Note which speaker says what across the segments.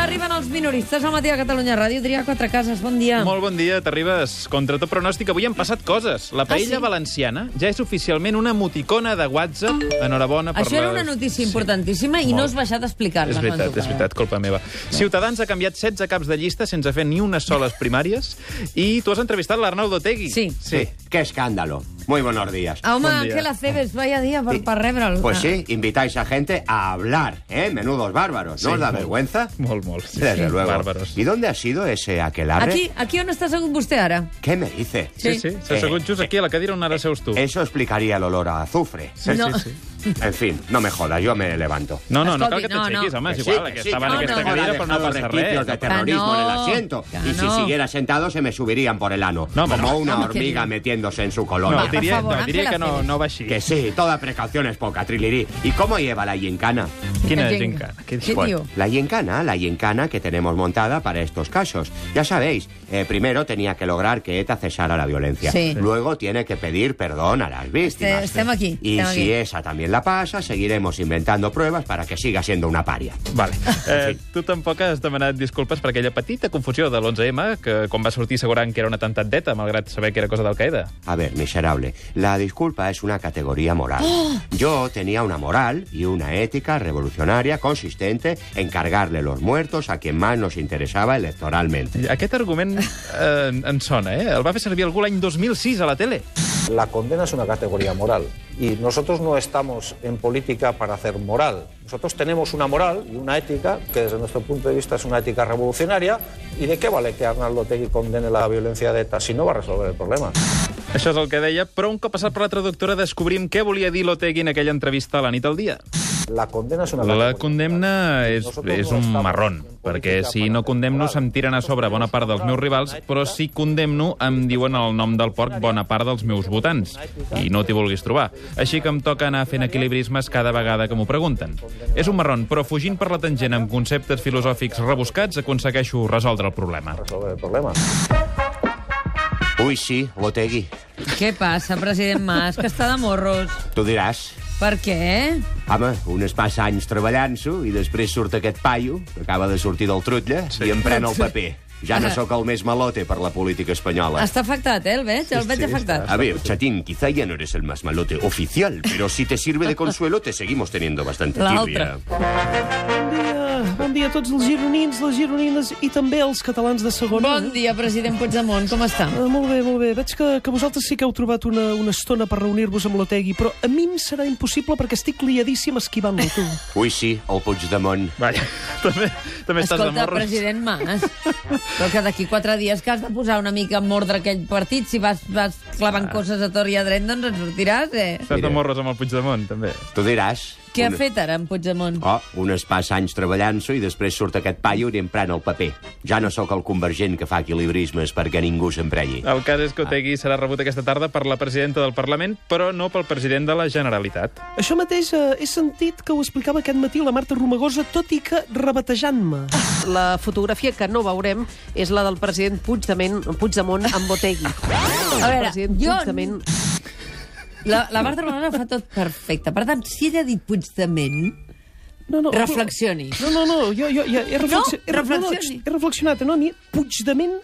Speaker 1: Arriben els minoristes al matí a Catalunya Ràdio. Triar quatre cases, bon dia.
Speaker 2: Molt bon dia, t'arribes. Contra tot pronòstic, avui han passat coses. La
Speaker 1: Ah,
Speaker 2: paella
Speaker 1: sí?
Speaker 2: valenciana ja és oficialment una emoticona de WhatsApp. Enhorabona per
Speaker 1: Això era
Speaker 2: les-
Speaker 1: una notícia
Speaker 2: Sí.
Speaker 1: importantíssima i
Speaker 2: Molt.
Speaker 1: no has baixat a explicar-la.
Speaker 2: És
Speaker 1: quan
Speaker 2: veritat,
Speaker 1: tocava.
Speaker 2: és veritat, culpa meva. Ciutadans ha canviat 16 caps de llista sense fer ni unes soles primàries i tu has entrevistat l'Arnau Dotegui.
Speaker 1: Sí.
Speaker 2: Sí.
Speaker 3: ¡Qué escándalo! Muy buenos días.
Speaker 1: Ah, Home,
Speaker 2: Bon dia.
Speaker 1: que la Cebes, vaya dia per, per rebre'l.
Speaker 3: Pues sí, invitáis a gente a hablar, ¿eh? Menudos bárbaros. ¿No os da vergüenza?
Speaker 2: Molt, molt. Sí,
Speaker 3: Desde
Speaker 2: sí.
Speaker 3: luego.
Speaker 2: Bárbaros.
Speaker 3: ¿Y dónde ha sido ese aquelarre?
Speaker 1: Aquí, aquí on està segut vostè ara?
Speaker 3: ¿Qué me dice?
Speaker 1: Sí.
Speaker 2: Sí, sí, s'ha assegut just aquí a la cadira on ara seus tu.
Speaker 3: Eso explicaría el olor a azufre.
Speaker 2: Sí,
Speaker 1: No.
Speaker 2: sí, sí.
Speaker 3: En fin, no me jodas, yo me levanto.
Speaker 2: No, no, no
Speaker 1: Escolti,
Speaker 2: cal que t'aixequis,
Speaker 1: no, no.
Speaker 2: home, és
Speaker 3: Que sí,
Speaker 2: igual,
Speaker 3: que
Speaker 2: que
Speaker 3: sí,
Speaker 2: estava
Speaker 1: que
Speaker 2: en
Speaker 1: Ah, no,
Speaker 2: aquesta
Speaker 1: no.
Speaker 2: cadira,
Speaker 3: Joder,
Speaker 2: però no
Speaker 3: dejado
Speaker 2: passa res.
Speaker 3: resquicios de
Speaker 2: no passa
Speaker 3: terrorismo en el
Speaker 1: no.
Speaker 3: asiento.
Speaker 1: Ya
Speaker 3: y si
Speaker 1: no.
Speaker 3: siguiera sentado, se me subirían por el ano.
Speaker 2: No,
Speaker 3: como
Speaker 2: no,
Speaker 3: una
Speaker 1: no,
Speaker 3: hormiga
Speaker 1: que-
Speaker 3: metiéndose en su
Speaker 2: No,
Speaker 3: colona.
Speaker 1: Va, per
Speaker 2: diria,
Speaker 1: favor,
Speaker 2: no, diria
Speaker 1: Ángela
Speaker 2: que no,
Speaker 1: Cebes.
Speaker 2: no va així.
Speaker 3: Que sí, toda precaución es poca, Trilirí. ¿Y cómo lleva la gincana?
Speaker 2: Quina
Speaker 1: Gent-
Speaker 2: gincana,
Speaker 1: Què
Speaker 2: què dius?
Speaker 1: diu?
Speaker 3: La gincana, la gincana que tenemos montada para estos casos. Ya sabéis, eh, primero tenía que lograr que ETA cesara la violencia.
Speaker 1: Sí.
Speaker 3: Luego tiene que pedir perdón a las víctimas.
Speaker 1: Este- estamos aquí,
Speaker 3: Y
Speaker 1: estamos
Speaker 3: si
Speaker 1: aquí.
Speaker 3: esa también la pasa, seguiremos inventando pruebas para que siga siendo una paria.
Speaker 2: Vale. Eh, tu tampoc has demanat disculpes per aquella petita confusió de l'11M, que com va sortir assegurant que era un atemptat d'ETA, malgrat saber que era cosa d'Al-Qaeda.
Speaker 3: A ver, miserable, la disculpa es una categoría moral.
Speaker 1: ¡Oh!
Speaker 3: Yo tenía una moral y una ética revolucionaria consistente en cargarle los muertos a quien más nos interesaba electoralmente.
Speaker 2: Aquest argument eh, en sona, eh? El va fer servir algú l'any 2006 a la tele.
Speaker 4: La condena es una categoría moral y nosotros no estamos en política para hacer moral. Nosotros tenemos una moral y una ética que desde nuestro punto de vista es una ética revolucionaria y de qué vale que Arnaldo Tegui condene la violencia de ETA si no va a resolver el problema.
Speaker 2: Això és el que deia, però un cop passat per la traductora descobrim què volia dir l'Otegui en aquella entrevista a la nit al dia.
Speaker 4: La condena es una
Speaker 2: La
Speaker 4: categoría
Speaker 2: condemna
Speaker 4: moral.
Speaker 2: és,
Speaker 4: Nosotros
Speaker 2: és
Speaker 4: no
Speaker 2: un
Speaker 4: estamos
Speaker 2: marrón,
Speaker 4: en política
Speaker 2: perquè si
Speaker 4: para
Speaker 2: no
Speaker 4: hacer
Speaker 2: condemno
Speaker 4: moral.
Speaker 2: se'm tiren a sobre bona part dels meus rivals, però si condemno em diuen el nom del porc bona part dels meus votants. I no t'hi vulguis trobar. Així que em toca anar fent equilibrismes cada vegada que m'ho pregunten. És un marrón, però fugint per la tangent amb conceptes filosòfics rebuscats aconsegueixo resoldre el problema.
Speaker 4: Resolver el problema.
Speaker 3: Uy, sí, Botegui,
Speaker 1: Què passa, president Mas, que està de morros?
Speaker 3: tu diràs...
Speaker 1: Per què?
Speaker 3: Home, un es passa anys treballant-s'ho i després surt aquest paio, que acaba de sortir del trutlle, sí. i em pren el paper. Ja no sóc el més malote per la política espanyola.
Speaker 1: Està afectat, eh, el veig? El veig afectat.
Speaker 3: A ver, chatín, quizá ya no eres el más malote oficial, pero si te sirve de consuelo te seguimos teniendo bastante
Speaker 1: La
Speaker 3: tirria.
Speaker 5: Bon dia, bon dia a tots els gironins, les gironines i també els catalans de segona.
Speaker 1: Bon dia, president Puigdemont, com està?
Speaker 5: Eh, molt bé, molt bé. Veig que, que vosaltres sí que heu trobat una, una estona per reunir-vos amb l'Otegui, però a mi em serà impossible perquè estic liadíssim esquivant-lo, tu.
Speaker 3: Ui, sí, el Puigdemont.
Speaker 2: Vaja, també, també estàs de
Speaker 1: Escolta,
Speaker 2: morros.
Speaker 1: president Mas, però que d'aquí quatre dies que has de posar una mica en ordre aquell partit, si vas, vas clavant
Speaker 2: Ah.
Speaker 1: coses a tor i a dret, doncs en sortiràs, eh?
Speaker 2: Estàs de
Speaker 3: Mira.
Speaker 2: morros amb el Puigdemont, també.
Speaker 3: Tu diràs...
Speaker 1: Què ha
Speaker 3: un-
Speaker 1: fet ara en
Speaker 6: Ah.
Speaker 1: Puigdemont?
Speaker 3: Oh, un es passa anys treballant-s'ho i després surt aquest paio i em pren el paper. Ja no sóc el convergent que fa equilibrismes perquè ningú s'emprenyi.
Speaker 2: El cas és que Otegui serà rebut aquesta tarda per la presidenta del Parlament, però no pel president de la Generalitat.
Speaker 5: Això mateix eh, he sentit que ho explicava aquest matí la Marta Romagosa, tot i que rebatejant-me.
Speaker 1: Ah,
Speaker 7: La fotografia que no veurem és la del president Puigdemont, Puigdemont amb Botegui.
Speaker 1: A veure,
Speaker 7: el president
Speaker 1: jo-
Speaker 7: Puigdemont...
Speaker 1: La, la Marta Romana fa tot perfecte. Per tant, si ella ha dit Puigdemont,
Speaker 5: No, no,
Speaker 1: reflexioni.
Speaker 5: No, no, no, jo, jo, jo he,
Speaker 1: No,
Speaker 5: reflexi... he, no, no,
Speaker 1: reflexioni.
Speaker 5: he reflexionat. No, a mi Puigdement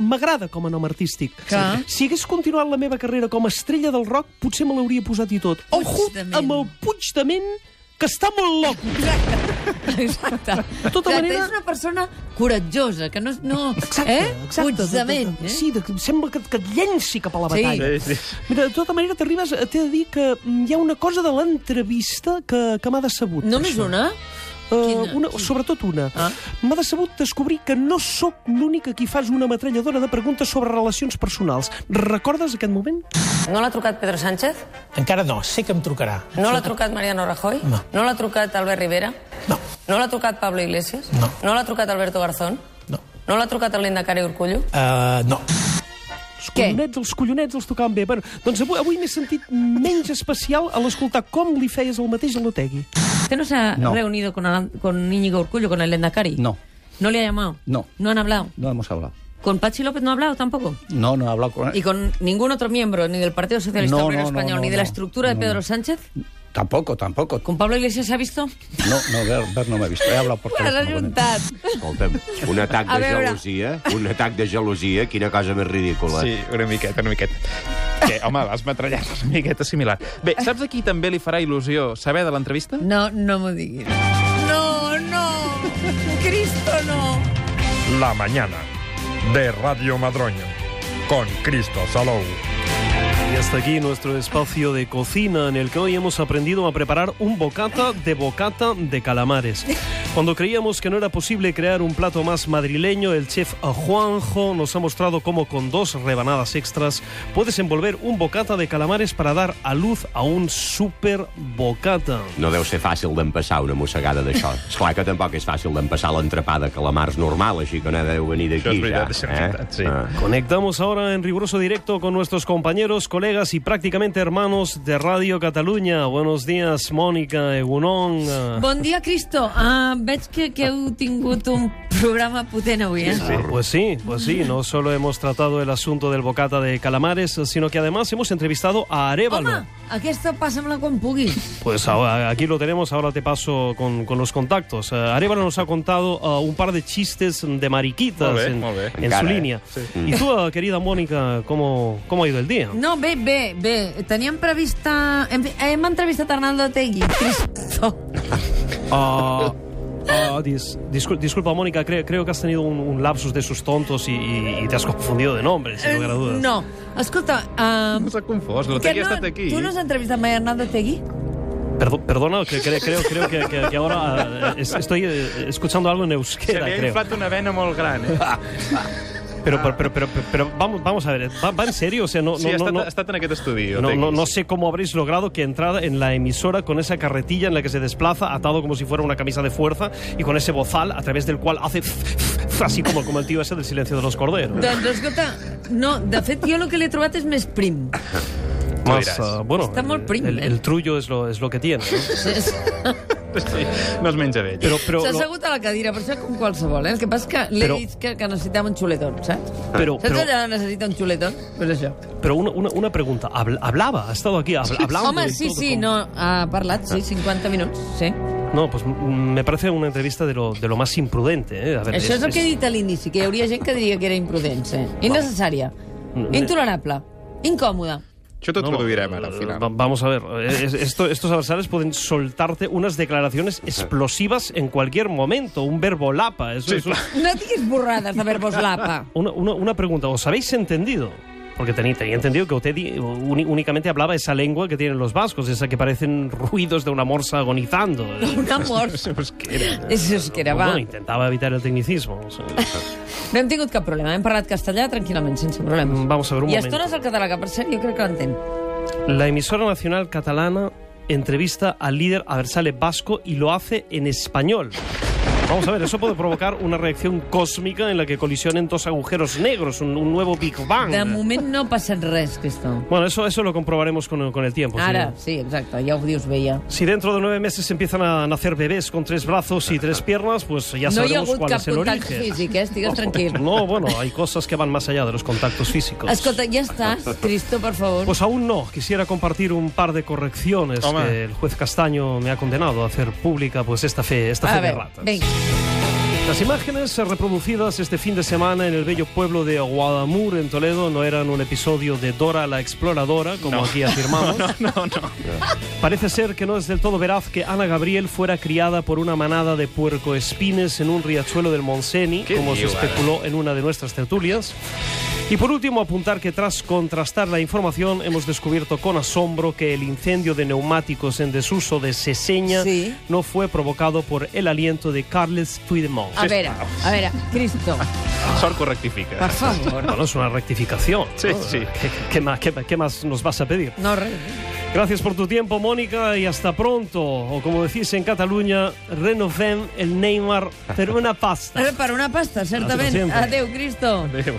Speaker 5: m'agrada com a nom artístic.
Speaker 1: Clar.
Speaker 5: Si hagués continuat la meva carrera com a estrella del rock, potser me l'hauria posat i tot. Ojo
Speaker 1: Puigdement.
Speaker 5: amb el Puigdement, que està molt loco.
Speaker 1: Eh? Exacte.
Speaker 5: De tota
Speaker 1: Exacte,
Speaker 5: manera-
Speaker 1: És una persona coratjosa, que no... no eh?
Speaker 6: tota,
Speaker 1: Puigdement.
Speaker 5: de- de-
Speaker 1: Eh?
Speaker 5: Sí, de, sembla que, que et llenci cap a la
Speaker 1: Sí.
Speaker 5: batalla.
Speaker 2: Sí, sí.
Speaker 5: Mira, de tota manera, t'arribes... T'he de dir que mm, hi ha una cosa de l'entrevista que, que m'ha decebut.
Speaker 1: Només
Speaker 5: això.
Speaker 1: una?
Speaker 5: Uh,
Speaker 1: Quina?
Speaker 5: una, sobretot una.
Speaker 1: Ah.
Speaker 5: M'ha decebut descobrir que no sóc l'única qui fas una metralladora de preguntes sobre relacions personals. Recordes aquest moment?
Speaker 8: No l'ha trucat Pedro Sánchez?
Speaker 6: Encara no, sé que em trucarà.
Speaker 8: No l'ha trucat Mariano Rajoy?
Speaker 6: No.
Speaker 8: No l'ha trucat Albert Rivera?
Speaker 6: No.
Speaker 8: No l'ha trucat Pablo Iglesias?
Speaker 6: No.
Speaker 8: No l'ha trucat Alberto Garzón?
Speaker 6: No.
Speaker 8: No l'ha trucat el Lindacari Urcullo?
Speaker 6: Uh, no.
Speaker 5: Els
Speaker 1: Què?
Speaker 5: collonets, els collonets els tocaven bé. Bueno, doncs avui, avui m'he sentit menys especial a l'escoltar com li feies el mateix a l'Otegui.
Speaker 1: ¿Usted no se ha
Speaker 9: No.
Speaker 1: reunido con, Alan- con Íñigo Urcullo, con el Endacari?
Speaker 9: No.
Speaker 1: ¿No le ha llamado?
Speaker 9: No.
Speaker 1: ¿No han hablado?
Speaker 9: No hemos hablado.
Speaker 1: ¿Con Pachi López no ha hablado tampoco?
Speaker 9: No, no he hablado con
Speaker 1: ¿Y con ningún otro miembro, ni del Partido Socialista
Speaker 9: No,
Speaker 1: Obrero
Speaker 9: no, no,
Speaker 1: Español,
Speaker 9: no,
Speaker 1: ni de la
Speaker 9: no.
Speaker 1: estructura de
Speaker 9: No,
Speaker 1: Pedro
Speaker 9: no.
Speaker 1: Sánchez?
Speaker 9: Tampoco, tampoco.
Speaker 1: ¿Con Pablo Iglesias se ha visto?
Speaker 9: No, no, Ver, Ver no m'ha vist. He hablat por
Speaker 1: Ho has
Speaker 9: teléfono con él.
Speaker 1: ajuntat.
Speaker 10: Escolta'm, un atac
Speaker 1: A
Speaker 10: de
Speaker 1: veure.
Speaker 10: gelosia, un atac de gelosia, quina cosa més ridícula.
Speaker 2: Sí, una miqueta, una miqueta. Que, home, vas metrallar una miqueta similar. Bé, saps a qui també li farà il·lusió saber de l'entrevista?
Speaker 1: No, no m'ho diguis. No, no. Cristo, no.
Speaker 11: La mañana de Radio Madroño con Cristo Salou.
Speaker 5: Y hasta aquí nuestro espacio de cocina en el que hoy hemos aprendido a preparar un bocata de bocata de calamares. Cuando creíamos que no era posible crear un plato más madrileño, el chef Juanjo nos ha mostrado cómo con dos rebanadas extras puedes envolver un bocata de calamares para dar a luz a un super bocata.
Speaker 10: No deu ser fàcil d'empassar una mossegada d'això. Esclar que tampoc és fàcil d'empassar l'entrapà de calamars normal, així que no deu venir d'aquí.
Speaker 2: Això és veritat,
Speaker 10: ja, eh?
Speaker 2: això
Speaker 10: Ah.
Speaker 2: és veritat, sí.
Speaker 5: Conectamos ahora en riguroso directo con nuestros compañeros, colegas y prácticamente hermanos de Radio Cataluña. Buenos días, Mónica, Egunón. eh,
Speaker 1: Bon dia, Cristo. Uh, veig que, que heu tingut un programa potent avui, eh?
Speaker 5: Sí, Pues sí, pues sí, no solo hemos tratado el asunto del bocata de calamares, sino que además hemos entrevistado a Arevalo.
Speaker 1: Home, aquesta passa-me-la quan puguis.
Speaker 5: Pues ahora, aquí lo tenemos, ahora te paso con, con los contactos. Eh, Arevalo nos ha contado eh, un par de chistes de mariquitas
Speaker 2: Molt bé,
Speaker 5: en,
Speaker 2: molt bé.
Speaker 5: en su
Speaker 10: Encara, eh?
Speaker 5: línea. Y tú, eh, querida Mónica, ¿cómo, ¿cómo ha ido el día?
Speaker 1: No, bé, bé, bé. Teníem prevista... Hem, hem entrevistat Arnaldo Tegui. Cristo.
Speaker 5: Ah, ah, dis- discul- disculpa, Mónica, cre- creo que has tenido un, un lapsus de sus tontos y, y- y te has confundido de nombre, sin lugar a dudas.
Speaker 1: Eh, No. Escolta, uh,
Speaker 2: No s'ha confós, la
Speaker 1: que
Speaker 2: Tegui ha estat aquí.
Speaker 1: tu no has entrevistat mai Arnaldo Tegui?
Speaker 5: Perdo- perdona, que cre- creo, creo que, que- que ahora eh, es- estoy eh, escuchando algo en
Speaker 2: Se
Speaker 5: euskera,
Speaker 2: li ha
Speaker 5: creo.
Speaker 2: inflat una vena molt gran, eh?
Speaker 5: Pero, pero, pero, pero- pero vamos, vamos a ver, ¿va, va en serio? O sea, no,
Speaker 2: Sí,
Speaker 5: no,
Speaker 2: ha
Speaker 5: no,
Speaker 2: estat,
Speaker 5: no-
Speaker 2: ha estat en aquest estudi. el
Speaker 5: no-
Speaker 2: Tegui,
Speaker 5: no- no
Speaker 2: sí.
Speaker 5: sé cómo habréis logrado que entrada en la emisora con esa carretilla en la que se desplaza, atado como si fuera una camisa de fuerza y con ese bozal a través del cual hace así como, como el tío ese del silencio de los corderos.
Speaker 1: Doncs escolta, no, de fet jo el que l'he trobat és més prim.
Speaker 2: Tú
Speaker 5: Más,
Speaker 2: dirás.
Speaker 5: ah, bueno,
Speaker 1: Está muy
Speaker 5: el-
Speaker 1: prim,
Speaker 5: el,
Speaker 1: eh.
Speaker 5: el trullo es lo, es lo que tiene. ¿no?
Speaker 2: Sí, no es menja bé.
Speaker 5: Pero, pero,
Speaker 1: S'ha
Speaker 5: lo-
Speaker 1: assegut a la cadira, però això com qualsevol, eh? El que passa és que l'he
Speaker 5: Però-
Speaker 1: dit que, que necessitava un xuletón, saps?
Speaker 5: Però-
Speaker 1: saps
Speaker 5: però-
Speaker 1: allà on necessita un xuletón? Pues això.
Speaker 5: pero una, una- una pregunta, Habl- hablaba, ha estado aquí habl- hablando.
Speaker 1: Home,
Speaker 5: y
Speaker 1: sí,
Speaker 5: todo
Speaker 1: sí,
Speaker 5: con-
Speaker 1: no, ha parlat,
Speaker 5: Ah.
Speaker 1: sí, 50 minuts, sí.
Speaker 5: No, pues mm, me parece una entrevista de lo, de lo más imprudente. ¿eh? A ver,
Speaker 1: Això és el que he dit a l'inici, que hi hauria gent que diria que era imprudent, sí. Innecessària,
Speaker 5: Mm.
Speaker 1: intolerable, incòmoda.
Speaker 2: Això t'ho traduirem ara, al
Speaker 5: Va-
Speaker 2: final.
Speaker 5: Vamos a ver, eh, es- esto- estos adversarios pueden soltarte unas declaraciones explosivas en cualquier momento, un verbo lapa. Eso, eso-
Speaker 1: No diguis borrades de verbos lapa.
Speaker 5: una, una- una pregunta, ¿os habéis entendido? Porque tenía, tenía entendido que usted di- uni- únicamente hablaba esa lengua que tienen los vascos, esa que parecen ruidos de una morsa agonizando.
Speaker 1: Una morsa. És euskera, va.
Speaker 5: Bueno, intentaba evitar el tecnicismo. o sea.
Speaker 1: No hem tingut cap problema, hem parlat castellà tranquil·lament, sense problemes.
Speaker 5: Mm, vamos a ver, un
Speaker 1: I a
Speaker 5: momento.
Speaker 1: estones el català, que per cert jo crec que l'entenc.
Speaker 5: La emisora nacional catalana entrevista al líder Aversale Vasco y lo hace en español. Vamos a ver, eso puede provocar una reacción cósmica en la que colisionen dos agujeros negros, un, un nuevo Big Bang.
Speaker 1: De moment no ha passat res, Cristo.
Speaker 5: Bueno, eso, eso lo comprobaremos con, el- con el tiempo. sí.
Speaker 1: Ara, sí, exacte, ja ho dius bé, ja.
Speaker 5: Si dentro de nueve meses empiezan a nacer bebés con tres brazos y tres piernas, pues ya
Speaker 1: No hi ha
Speaker 5: sabremos
Speaker 1: hagut
Speaker 5: cuál
Speaker 1: cap
Speaker 5: es el
Speaker 1: contacte
Speaker 5: origen.
Speaker 1: físic, eh? Estigues tranquil.
Speaker 5: No, bueno, hay cosas que van más allá de los contactos físicos.
Speaker 1: Escolta, ja estàs, Cristo, per favor.
Speaker 5: Pues aún no. Quisiera compartir un par de correcciones
Speaker 2: Toma.
Speaker 5: que el juez Castaño me ha condenado a hacer pública, pues esta fe, esta fe
Speaker 1: A
Speaker 5: de
Speaker 1: veure,
Speaker 5: ratas.
Speaker 1: vinga.
Speaker 5: Las imágenes reproducidas este fin de semana en el bello pueblo de Guadamur, en Toledo, no eran un episodio de Dora la Exploradora, como aquí afirmamos. Parece ser que no es del todo veraz que Ana Gabriel fuera criada por una manada de puercoespines en un riachuelo del Monseni,
Speaker 2: ¿Qué
Speaker 5: como
Speaker 2: digo,
Speaker 5: se
Speaker 2: Ana?
Speaker 5: especuló en una de nuestras tertulias. Y por último, apuntar que tras contrastar la información hemos descubierto con asombro que el incendio de neumáticos en desuso de Seseña
Speaker 1: Sí.
Speaker 5: no fue provocado por el aliento de Carles Puigdemont.
Speaker 1: A veure, a veure, Cristo,
Speaker 2: Sort que rectifica.
Speaker 1: per favor.
Speaker 5: Bueno, es una rectificación.
Speaker 2: Sí,
Speaker 5: ¿no?
Speaker 2: sí.
Speaker 5: ¿Qué- qué más, qué- qué más nos vas a pedir?
Speaker 1: No, res.
Speaker 5: Gracias por tu tiempo, Mónica, y hasta pronto. O como decís en Cataluña, renovem el Neymar per una pasta.
Speaker 1: Ara per una pasta, certament.
Speaker 5: Gràcies, sempre.
Speaker 1: Adéu, Cristo.
Speaker 5: Adéu.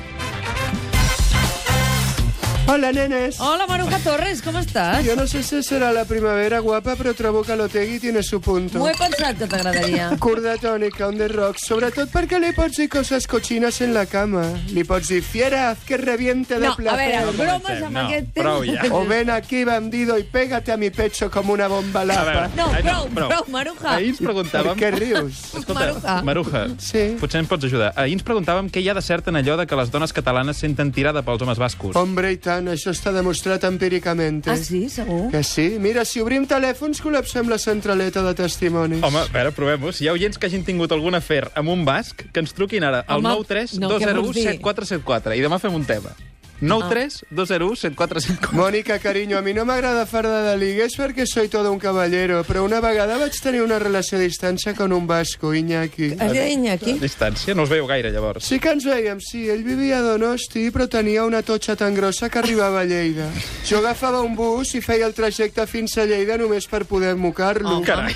Speaker 10: Hola, nenes.
Speaker 1: Hola, Maruja Torres, com estàs?
Speaker 10: Yo no sé si será la primavera guapa, pero trobo que l'Otegui tiene su punto.
Speaker 1: M'ho he pensat que t'agradaria.
Speaker 10: Corda tònica, on the rock, sobretot perquè li pots dir coses cochinas en la cama. Li pots dir, fiera, haz que reviente de
Speaker 1: No, a
Speaker 10: placer.
Speaker 1: veure, bromes amb
Speaker 2: No,
Speaker 1: aquest
Speaker 2: prou
Speaker 1: tema.
Speaker 2: ja.
Speaker 10: O ven aquí, bandido, y pégate a mi pecho como una bomba
Speaker 2: A
Speaker 10: lapa.
Speaker 2: veure,
Speaker 1: No,
Speaker 2: eh,
Speaker 1: prou, prou, Maruja.
Speaker 2: Ahir ens preguntàvem...
Speaker 10: Per què rius?
Speaker 2: Escolta,
Speaker 1: Maruja.
Speaker 2: Maruja,
Speaker 10: Sí.
Speaker 2: potser ens pots ajudar. Ahir ens preguntàvem què hi ha de cert en allò de que les dones catalanes senten tirada pels homes bascos.
Speaker 10: Hombre, i tant, això està demostrat empíricamente.
Speaker 1: Ah, sí, segur?
Speaker 10: Que sí? Mira, si obrim telèfons col·lapsem la centraleta de testimonis.
Speaker 2: Home, a veure, provem-ho. Si hi ha oients que hagin tingut algun afer amb un basc, que ens truquin ara al
Speaker 1: Home,
Speaker 2: 93
Speaker 1: no, què vols
Speaker 2: 201
Speaker 1: dir? Ah.
Speaker 2: 7474 i demà fem un tema. 93 201 7474
Speaker 10: Mònica, carinyo, a mi no m'agrada farda de ligues perquè soy todo un caballero, però una vegada vaig tenir una relació a distància con un vasco, Iñaki.
Speaker 1: Es deia Iñaki?
Speaker 2: Distància, no us veieu gaire, llavors.
Speaker 10: Sí que ens veiem, sí. Ell vivia a Donosti, però tenia una totxa tan grossa que arribava a Lleida. Jo agafava un bus i feia el trajecte fins a Lleida només per poder mocar-lo.
Speaker 2: Oh, Carai.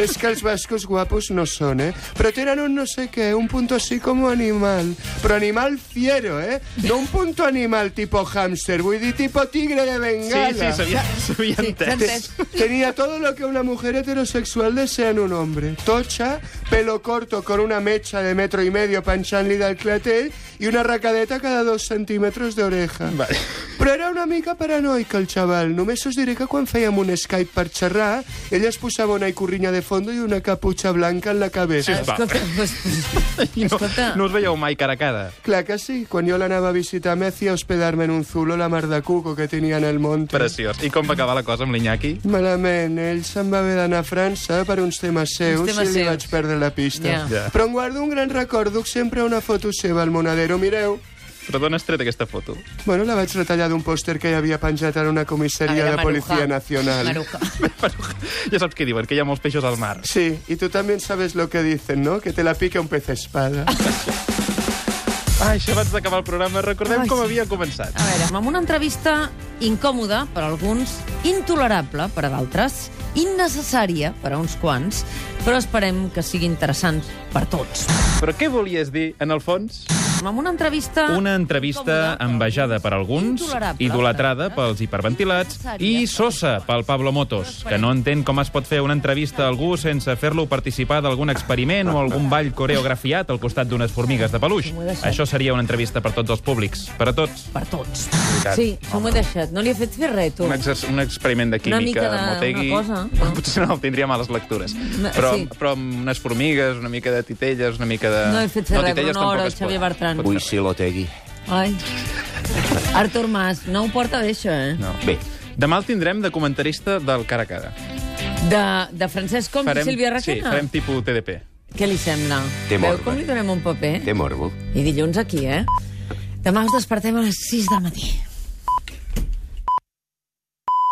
Speaker 10: És que els bascos guapos no són, eh? Però tenen un no sé què, un punto así como animal. Però animal fiero, eh? No un punto animal tipo hámster, vull dir tipo tigre de
Speaker 2: Sí, sí,
Speaker 10: bengala.
Speaker 2: s'havia s'havia
Speaker 1: s'ha
Speaker 2: entès.
Speaker 1: entès.
Speaker 10: Tenía todo lo que una mujer heterosexual desea en un hombre. Tocha, pelo corto con una mecha de metro y medio panchanlida al clatel y una racadeta cada dos centímetros de oreja.
Speaker 2: Vale.
Speaker 10: Però era una mica paranoica el xaval. Només us diré que quan fèiem un Skype per xerrar, ella es posava una icorrinya de fondo i una caputxa blanca en la cabeza.
Speaker 2: Sisplau.
Speaker 1: Escolta, pues,
Speaker 2: I No,
Speaker 1: Escolta.
Speaker 2: no us veieu mai cara a cara.
Speaker 10: Clar que sí. Quan jo l'anava a visitar me hacía hospedarme en un zulo la mar de cuco que tenia en el monte.
Speaker 2: Preciós. I com va acabar la cosa amb l'Iñaki?
Speaker 10: Malament, ell se'n va haver d'anar a França per uns temes seus
Speaker 1: Uns temes
Speaker 10: i li
Speaker 1: seus.
Speaker 10: vaig perdre la pista.
Speaker 1: Ja.
Speaker 2: Ja.
Speaker 10: Però em guardo un gran record, duc sempre una foto seva al Monadero, mireu.
Speaker 2: Però d'on has tret aquesta foto?
Speaker 10: Bueno, la vaig retallar d'un pòster que hi havia penjat en una comissaria de Policia Nacional.
Speaker 1: Maruja.
Speaker 2: Ja saps què diuen, que hi ha molts peixos al mar.
Speaker 10: Sí, y tú también sabes lo que dicen, ¿no? Que te la pique un pez espada.
Speaker 2: Ah, això abans d'acabar el programa, recordem
Speaker 1: Ai,
Speaker 2: com
Speaker 1: sí.
Speaker 2: havia començat.
Speaker 1: A veure, amb una entrevista incòmoda per a alguns, intolerable per a d'altres, innecessària per a uns quants, però esperem que sigui interessant per tots.
Speaker 2: Però què volies dir, en el fons?
Speaker 1: Amb una entrevista...
Speaker 2: Una entrevista envejada per alguns,
Speaker 1: Intolerable.
Speaker 2: idolatrada pels hiperventilats i sosa pel Pablo Motos, que no entén com es pot fer una entrevista a algú sense fer-lo participar d'algun experiment o algun ball coreografiat al costat d'unes formigues de peluix. Això seria una entrevista per tots els públics, per a tots.
Speaker 1: Per tots.
Speaker 2: Veritat.
Speaker 1: Sí, s'ho m'ho he deixat. No li he fet fer res, tu.
Speaker 2: Un, exer un experiment de
Speaker 1: Una
Speaker 2: química
Speaker 1: mica de-
Speaker 2: Motegui.
Speaker 1: una cosa, no?
Speaker 2: Potser no, tindria males lectures.
Speaker 1: No,
Speaker 2: Però,
Speaker 1: sí.
Speaker 2: però amb unes formigues, una mica de titelles, una mica de...
Speaker 1: No he fet fer res,
Speaker 2: titelles
Speaker 1: Bruno Oro,
Speaker 2: tampoc es
Speaker 1: Xavier
Speaker 2: pot.
Speaker 1: Bertran.
Speaker 2: Pot
Speaker 1: Ui,
Speaker 2: fer.
Speaker 10: l'Otegui.
Speaker 1: Ai. Artur Mas, no ho porta bé, això, eh?
Speaker 2: No.
Speaker 10: Bé.
Speaker 2: Demà el tindrem de comentarista del cara a cara.
Speaker 1: De, de Francesc Comte i Sílvia
Speaker 2: sí,
Speaker 1: Requena?
Speaker 2: farem tipus TDP.
Speaker 1: Què li sembla?
Speaker 10: Té
Speaker 1: Veu
Speaker 10: morbo,
Speaker 1: com li donem un paper?
Speaker 10: Té morbo.
Speaker 1: eh? I dilluns aquí, eh? Demà us despertem a les 6 del matí.